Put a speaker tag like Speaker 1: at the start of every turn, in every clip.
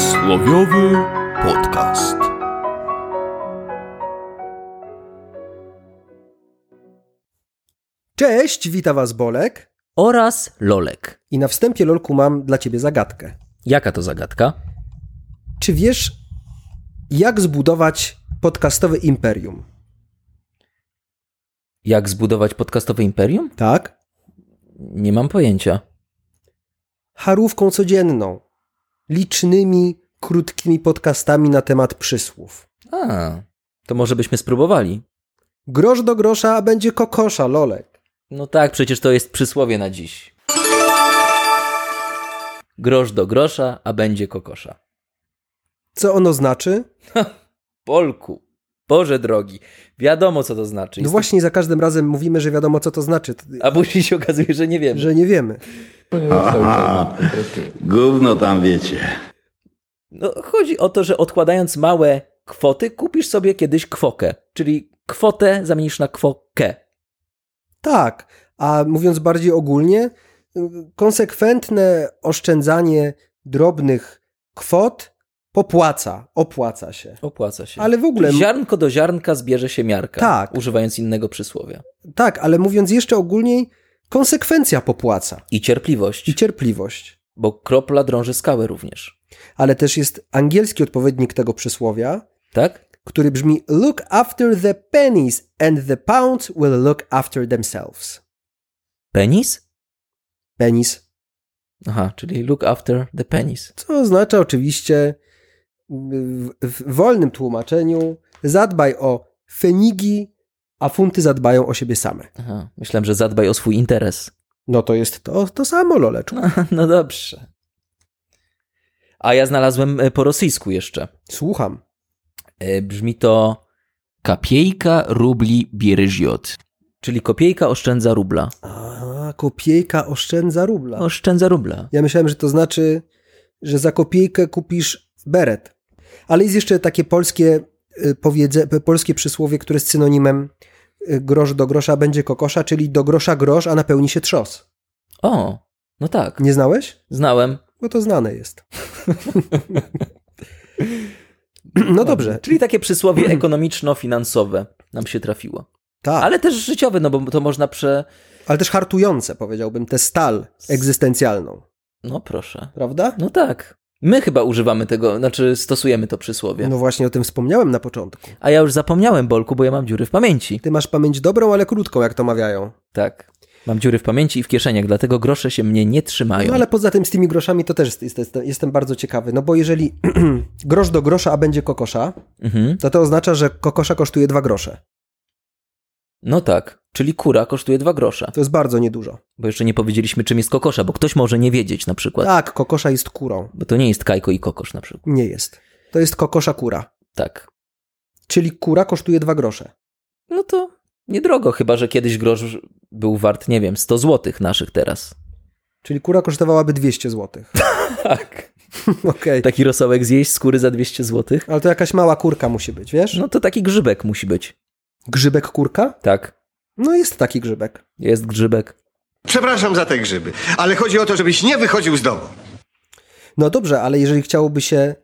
Speaker 1: Przysłowiowy podcast.
Speaker 2: Cześć, wita was Bolek
Speaker 3: oraz Lolek.
Speaker 2: i na wstępie Lolku mam dla ciebie zagadkę.
Speaker 3: Jaka to zagadka?
Speaker 2: Czy wiesz, jak zbudować podcastowe imperium?
Speaker 3: Jak zbudować podcastowe imperium?
Speaker 2: Tak.
Speaker 3: Nie mam pojęcia.
Speaker 2: Harówką codzienną, licznymi, krótkimi podcastami na temat przysłów.
Speaker 3: A, to może byśmy spróbowali.
Speaker 2: Grosz do grosza, a będzie kokosza, Lolek.
Speaker 3: No tak, przecież to jest przysłowie na dziś. Grosz do grosza, a będzie kokosza.
Speaker 2: Co ono znaczy?
Speaker 3: Polku, Boże drogi, wiadomo co to znaczy.
Speaker 2: No właśnie za każdym razem mówimy, że wiadomo co to znaczy, t-
Speaker 3: A później się okazuje, że nie wiem.
Speaker 2: że nie wiemy.
Speaker 4: Aha, gówno tam wiecie.
Speaker 3: No, chodzi o to, że odkładając małe kwoty, kupisz sobie kiedyś kwokę, czyli kwotę zamienisz na kwokę.
Speaker 2: Tak, a mówiąc bardziej ogólnie, y, konsekwentne oszczędzanie drobnych kwot popłaca, opłaca się.
Speaker 3: Opłaca się.
Speaker 2: Ale w ogóle,
Speaker 3: Ziarnko do ziarnka zbierze się miarka.
Speaker 2: Tak.
Speaker 3: Używając innego przysłowia.
Speaker 2: tak, ale mówiąc jeszcze ogólniej, konsekwencja popłaca
Speaker 3: I cierpliwość,
Speaker 2: i cierpliwość.
Speaker 3: bo kropla drąży skałę również.
Speaker 2: Ale też jest angielski odpowiednik tego przysłowia,
Speaker 3: Tak?
Speaker 2: który brzmi look after the pennies and the pounds will look after themselves.
Speaker 3: Penis?
Speaker 2: Penis,
Speaker 3: Aha, czyli look after the penis.
Speaker 2: co oznacza oczywiście w, w wolnym tłumaczeniu zadbaj o fenigi, a funty zadbają o siebie same.
Speaker 3: Aha, myślałem, że zadbaj o swój interes.
Speaker 2: No to jest to, to samo, Loleczku.
Speaker 3: No dobrze. A ja znalazłem e, po rosyjsku jeszcze.
Speaker 2: Słucham.
Speaker 3: E, Brzmi to
Speaker 1: Kapiejka rubli bieryżiot.
Speaker 3: czyli kopiejka oszczędza rubla.
Speaker 2: A, kopiejka oszczędza rubla.
Speaker 3: Oszczędza rubla.
Speaker 2: Ja myślałem, że to znaczy, że za kopiejkę kupisz beret. Ale jest jeszcze takie polskie y, powiedze, p- polskie przysłowie, które jest synonimem y, grosz do grosza będzie kokosza, czyli do grosza grosz, a napełni się trzos.
Speaker 3: O, no tak.
Speaker 2: Nie znałeś?
Speaker 3: Znałem.
Speaker 2: Bo to znane jest. no dobrze.
Speaker 3: Czyli takie przysłowie ekonomiczno-finansowe nam się trafiło.
Speaker 2: Tak, ale...
Speaker 3: Ale też życiowe, no bo to można prze...
Speaker 2: też hartujące, powiedziałbym, tę stal egzystencjalną.
Speaker 3: No proszę.
Speaker 2: Prawda?
Speaker 3: No tak. My chyba używamy tego, znaczy stosujemy to przysłowie.
Speaker 2: No właśnie o tym wspomniałem na początku.
Speaker 3: A ja już zapomniałem, Bolku, bo ja mam dziury w pamięci.
Speaker 2: Ty masz pamięć dobrą, ale krótką, jak to mawiają.
Speaker 3: Tak. Mam dziury w pamięci i w kieszeniach, dlatego grosze się mnie nie trzymają.
Speaker 2: No ale poza tym z tymi groszami to też jest, jest, jestem bardzo ciekawy, no bo jeżeli grosz do grosza, a będzie kokosza,
Speaker 3: Mhm.
Speaker 2: to to oznacza, że kokosza kosztuje dwa grosze.
Speaker 3: No tak. Czyli kura kosztuje dwa grosze.
Speaker 2: To jest bardzo niedużo.
Speaker 3: Bo jeszcze nie powiedzieliśmy, czym jest kokosza, bo ktoś może nie wiedzieć na przykład.
Speaker 2: Tak, kokosza jest kurą.
Speaker 3: Bo to nie jest kajko i kokosz na przykład.
Speaker 2: Nie jest. To jest kokosza kura.
Speaker 3: Tak.
Speaker 2: Czyli kura kosztuje dwa grosze.
Speaker 3: No to niedrogo, chyba że kiedyś grosz był wart, nie wiem, 100 złotych naszych teraz.
Speaker 2: Czyli kura kosztowałaby 200 zł.
Speaker 3: Tak.
Speaker 2: Okej.
Speaker 3: Taki rosołek zjeść skóry za 200 złotych?
Speaker 2: Ale to jakaś mała kurka musi być, wiesz?
Speaker 3: No to taki grzybek musi być.
Speaker 2: Grzybek kurka?
Speaker 3: Tak.
Speaker 2: No jest taki grzybek.
Speaker 3: Jest grzybek.
Speaker 5: Przepraszam za te grzyby, ale chodzi o to, żebyś nie wychodził z domu.
Speaker 2: No dobrze, ale jeżeli chciałoby się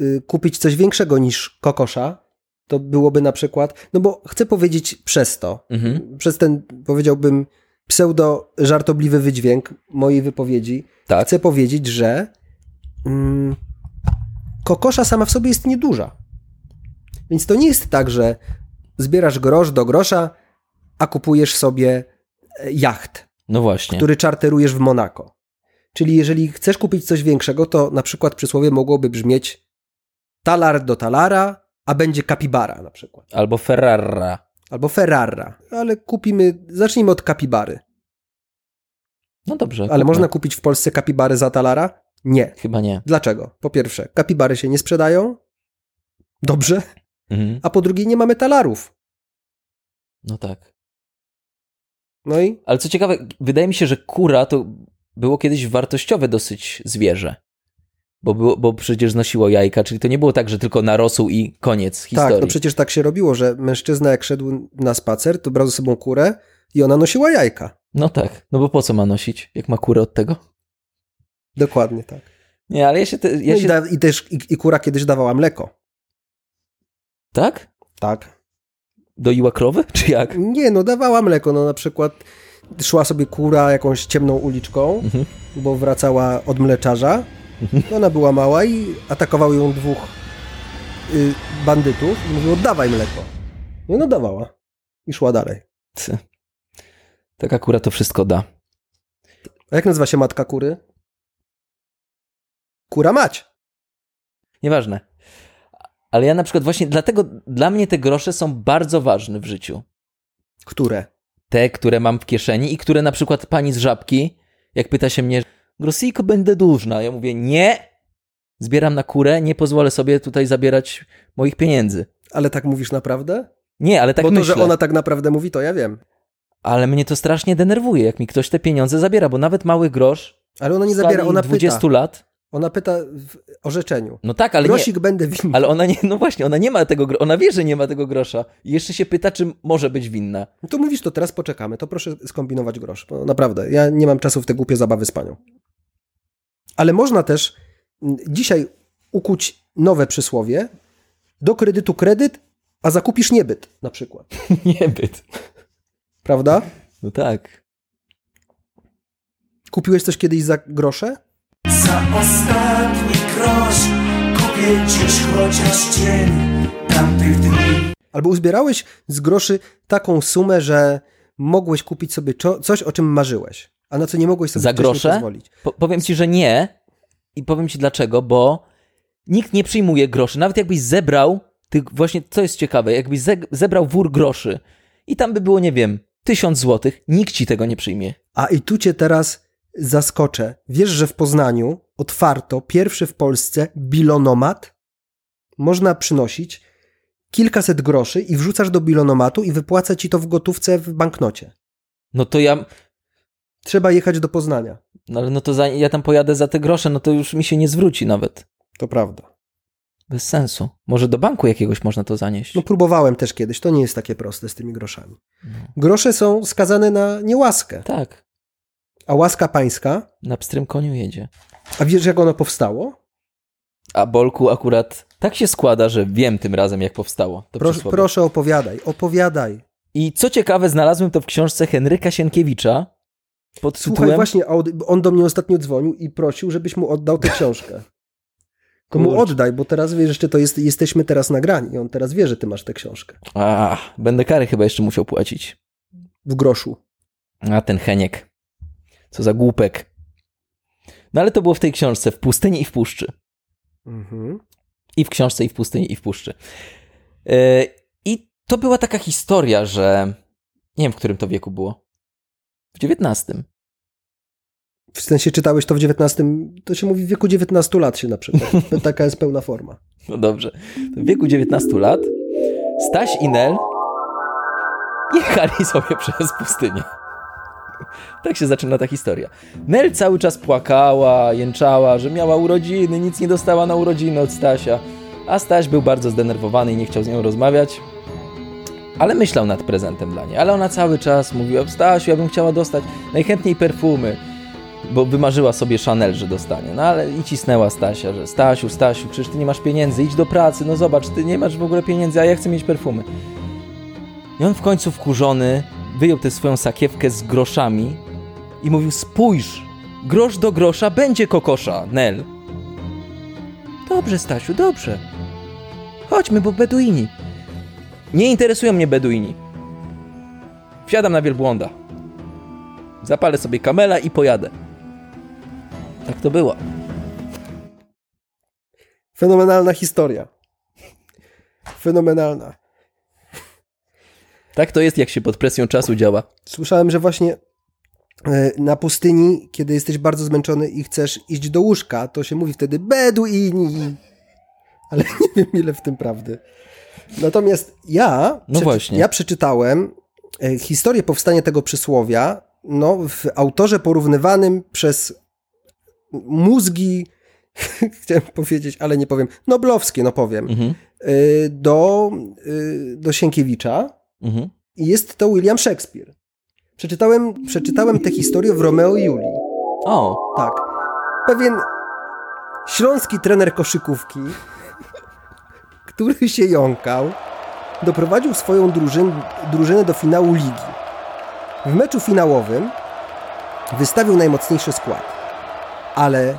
Speaker 2: y, kupić coś większego niż kokosza, to byłoby na przykład, no bo chcę powiedzieć przez to,
Speaker 3: Mhm.
Speaker 2: przez ten powiedziałbym pseudo żartobliwy wydźwięk mojej wypowiedzi,
Speaker 3: Tak.
Speaker 2: chcę powiedzieć, że mm, kokosza sama w sobie jest nieduża. Więc to nie jest tak, że zbierasz grosz do grosza, a kupujesz sobie e, jacht
Speaker 3: No właśnie.
Speaker 2: który czarterujesz w Monako. Czyli jeżeli chcesz kupić coś większego, to na przykład przysłowie mogłoby brzmieć talar do talara, a będzie kapibara na przykład.
Speaker 3: Albo Ferrara.
Speaker 2: Albo Ferrara. Ale kupimy, zacznijmy od kapibary.
Speaker 3: No dobrze.
Speaker 2: Ale
Speaker 3: kupmy.
Speaker 2: można kupić w Polsce kapibary za talara? Nie.
Speaker 3: Chyba nie.
Speaker 2: Dlaczego? Po pierwsze, kapibary się nie sprzedają. Dobrze.
Speaker 3: Mhm.
Speaker 2: A po drugie, nie mamy talarów.
Speaker 3: No tak.
Speaker 2: No i
Speaker 3: Ale co ciekawe, wydaje mi się, że kura to było kiedyś wartościowe dosyć zwierzę. Bo, było, bo przecież nosiło jajka, czyli to nie było tak, że tylko narosł i koniec historii.
Speaker 2: tak, no przecież tak się robiło, że mężczyzna jak szedł na spacer, to brał ze sobą kurę i ona nosiła jajka.
Speaker 3: No tak. No bo po co ma nosić, jak ma kurę od tego?
Speaker 2: Dokładnie tak.
Speaker 3: Nie, ale ja się... Te, ja
Speaker 2: no i,
Speaker 3: się...
Speaker 2: da, i też i, i kura kiedyś dawała mleko.
Speaker 3: Tak?
Speaker 2: Tak.
Speaker 3: Doiła krowy? Czy jak?
Speaker 2: Nie, no dawała mleko. No na przykład szła sobie kura jakąś ciemną uliczką, bo wracała od mleczarza. Ona była mała i atakował ją dwóch y, bandytów i mówił, oddawaj mleko. No I ona dawała. I szła dalej.
Speaker 3: Ty. Taka kura Tak to wszystko da.
Speaker 2: A jak nazywa się matka kury? Kura mać.
Speaker 3: Nieważne. Ale ja na przykład właśnie dlatego dla mnie te grosze są bardzo ważne w życiu.
Speaker 2: Które?
Speaker 3: Te, które mam w kieszeni i które na przykład pani z żabki, jak pyta się mnie, grosyjko będę dłużna. Ja mówię, nie, zbieram na kurę, nie pozwolę sobie tutaj zabierać moich pieniędzy.
Speaker 2: Ale tak mówisz naprawdę?
Speaker 3: Nie, ale tak
Speaker 2: Bo to,
Speaker 3: myślę.
Speaker 2: że ona tak naprawdę mówi, to ja wiem.
Speaker 3: Ale mnie to strasznie denerwuje, jak mi ktoś te pieniądze zabiera, bo nawet mały grosz
Speaker 2: Ale ona nie
Speaker 3: w
Speaker 2: zabiera,
Speaker 3: skali
Speaker 2: ona
Speaker 3: 20
Speaker 2: pyta.
Speaker 3: lat.
Speaker 2: Ona pyta w orzeczeniu.
Speaker 3: No tak, ale nie,
Speaker 2: Grosik będę winny.
Speaker 3: Ale ona nie, no właśnie, ona nie ma tego, gro- ona wie, że nie ma tego grosza. I jeszcze się pyta, czy może być winna.
Speaker 2: No To mówisz, to teraz poczekamy. To proszę skombinować grosz. No, naprawdę, ja nie mam czasu w te głupie zabawy z panią. Ale można też mm, dzisiaj ukuć nowe przysłowie. Do kredytu kredyt, a zakupisz niebyt na przykład.
Speaker 3: Niebyt.
Speaker 2: Prawda?
Speaker 3: No tak.
Speaker 2: Kupiłeś coś kiedyś za grosze?
Speaker 6: Za ostatni grosz kupię dziś chociaż cień tamtych dni.
Speaker 2: Albo uzbierałeś z groszy taką sumę, że mogłeś kupić sobie czo- coś, o czym marzyłeś, a na co nie mogłeś sobie
Speaker 3: Za
Speaker 2: wcześniej
Speaker 3: grosze?
Speaker 2: pozwolić.
Speaker 3: Po, powiem ci, że nie. I powiem ci dlaczego, bo nikt nie przyjmuje groszy. Nawet jakbyś zebrał, tych właśnie, co jest ciekawe, jakbyś ze, zebrał wór groszy i tam by było, nie wiem, tysiąc złotych, nikt ci tego nie przyjmie.
Speaker 2: A i tu cię teraz zaskoczę. Wiesz, że w Poznaniu otwarto pierwszy w Polsce bilonomat? Można przynosić kilkaset groszy i wrzucasz do bilonomatu i wypłaca ci to w gotówce w banknocie.
Speaker 3: No to ja,
Speaker 2: Trzeba jechać do Poznania.
Speaker 3: no ale no to za, ja tam pojadę za te grosze, no to już mi się nie zwróci nawet.
Speaker 2: To prawda.
Speaker 3: Bez sensu. Może do banku jakiegoś można to zanieść.
Speaker 2: No próbowałem też kiedyś, to nie jest takie proste z tymi groszami.
Speaker 3: No.
Speaker 2: Grosze są skazane na niełaskę,
Speaker 3: Tak,
Speaker 2: a łaska pańska
Speaker 3: na pstrym koniu jedzie.
Speaker 2: A wiesz, jak ono powstało?
Speaker 3: A Bolku akurat tak się składa, że wiem tym razem, jak powstało. To
Speaker 2: Proszę,
Speaker 3: przysłowie.
Speaker 2: proszę opowiadaj, opowiadaj.
Speaker 3: I co ciekawe, znalazłem to w książce Henryka Sienkiewicza pod
Speaker 2: Słuchaj,
Speaker 3: tytułem...
Speaker 2: właśnie, a od- on do mnie ostatnio dzwonił i prosił, żebyś mu oddał tę książkę. To mu
Speaker 3: Kurczę.
Speaker 2: oddaj, bo teraz wiesz, jeszcze to jest, jesteśmy teraz nagrani i on teraz wie, że ty masz tę książkę.
Speaker 3: A, będę kary chyba jeszcze musiał płacić.
Speaker 2: W groszu.
Speaker 3: A, ten Heniek. Co za głupek. No ale to było w tej książce, w pustyni i w puszczy.
Speaker 2: Mhm.
Speaker 3: I w książce, i w pustyni, i w puszczy. Yy, I to była taka historia, że... Nie wiem, w którym to wieku było. W XIX.
Speaker 2: W sensie czytałeś to w XIX, to się mówi w wieku 19 lat się na przykład. To Taka jest pełna forma.
Speaker 3: No dobrze. To W wieku 19 lat Staś i Nel jechali sobie przez pustynię. Tak się zaczyna ta historia. Nel cały czas płakała, jęczała, że miała urodziny, nic nie dostała na urodziny od Stasia. A Staś był bardzo zdenerwowany i nie chciał z nią rozmawiać. Ale myślał nad prezentem dla niej. Ale ona cały czas mówiła, Stasiu, ja bym chciała dostać najchętniej perfumy bo wymarzyła sobie Chanel, że dostanie. No ale i cisnęła Stasia, że Stasiu, Stasiu, przecież ty nie masz pieniędzy, idź do pracy, no zobacz, ty nie masz w ogóle pieniędzy, a ja chcę mieć perfumy. I on w końcu wkurzony wyjął tę swoją sakiewkę z groszami i mówił, spójrz, grosz do grosza będzie kokosza, Nel. Dobrze, Stasiu, dobrze. Chodźmy, bo Beduini. Nie interesują mnie Beduini. Wsiadam na wielbłąda. Zapalę sobie kamela i pojadę. Tak to było.
Speaker 2: Fenomenalna historia. Fenomenalna.
Speaker 3: Tak to jest, jak się pod presją czasu działa.
Speaker 2: Słyszałem, że właśnie e, na pustyni, kiedy jesteś bardzo zmęczony i chcesz iść do łóżka, to się mówi wtedy beduini. Ale nie wiem, ile w tym prawdy. Natomiast ja,
Speaker 3: No właśnie.
Speaker 2: ja przeczytałem e, historię powstania tego przysłowia no, w autorze porównywanym przez mózgi, chciałem powiedzieć, ale nie powiem, noblowskie, no powiem,
Speaker 3: Mhm.
Speaker 2: e, do, e, do Sienkiewicza.
Speaker 3: Mhm.
Speaker 2: I jest to William Shakespeare. Przeczytałem, przeczytałem tę historię w Romeo i Julii.
Speaker 3: O,
Speaker 2: Tak. Pewien Tak. Śląski trener koszykówki, który się jąkał, doprowadził swoją drużyn, drużynę do finału ligi. W meczu finałowym wystawił najmocniejszy skład, ale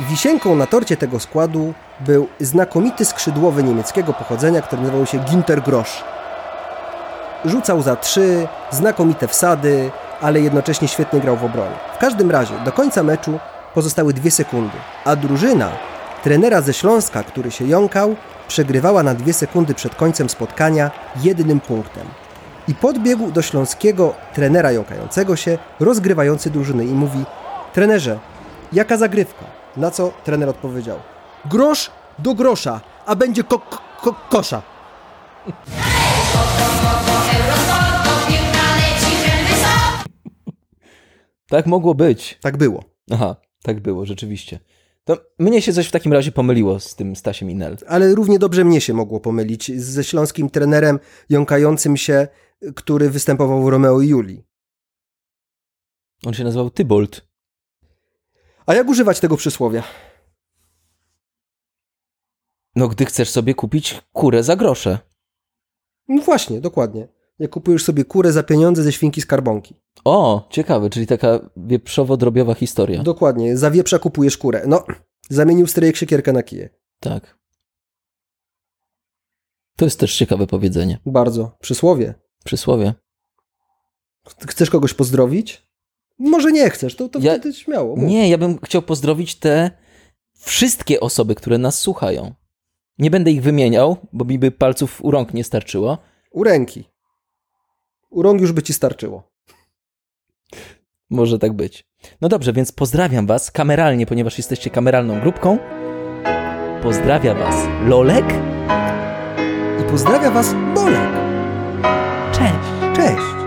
Speaker 2: wisienką na torcie tego składu był znakomity skrzydłowy niemieckiego pochodzenia, który nazywał się Ginter Grosz. Rzucał za trzy, znakomite wsady, ale jednocześnie świetnie grał w obronie. W każdym razie, do końca meczu pozostały dwie sekundy, a drużyna trenera ze Śląska, który się jąkał, przegrywała na dwie sekundy przed końcem spotkania jednym punktem. I podbiegł do śląskiego trenera jąkającego się, rozgrywający drużyny i mówi Trenerze, jaka zagrywka? Na co trener odpowiedział Grosz do grosza, a będzie ko- ko- kosza.
Speaker 7: Eurosport, do piłka leci ten wysoko.
Speaker 3: Tak mogło być.
Speaker 2: Tak było.
Speaker 3: Aha, tak było, rzeczywiście. To mnie się coś w takim razie pomyliło z tym Stasiem i Nel.
Speaker 2: ale równie dobrze mnie się mogło pomylić ze śląskim trenerem jąkającym się, który występował w Romeo i Julii.
Speaker 3: On się nazywał Tybold.
Speaker 2: A jak używać tego przysłowia?
Speaker 3: No, gdy chcesz sobie kupić kurę za grosze.
Speaker 2: No właśnie, dokładnie. Jak kupujesz sobie kurę za pieniądze ze świnki skarbonki.
Speaker 3: O, ciekawe, czyli taka wieprzowo-drobiowa historia.
Speaker 2: Dokładnie, za wieprza kupujesz kurę. No, zamienił stryjek siekierkę na kije.
Speaker 3: Tak. To jest też ciekawe powiedzenie.
Speaker 2: Bardzo. Przysłowie.
Speaker 3: Przysłowie.
Speaker 2: Chcesz kogoś pozdrowić? Może nie chcesz, to, to
Speaker 3: Ja-
Speaker 2: wtedy śmiało. mów.
Speaker 3: Nie, ja bym chciał pozdrowić te wszystkie osoby, które nas słuchają. Nie będę ich wymieniał, bo mi by palców u rąk nie starczyło.
Speaker 2: U ręki. U rąk już by ci starczyło.
Speaker 3: Może tak być. No dobrze, więc pozdrawiam Was kameralnie, ponieważ jesteście kameralną grupką. Pozdrawia Was Lolek.
Speaker 2: I pozdrawia was Bolek.
Speaker 3: Cześć.
Speaker 2: Cześć.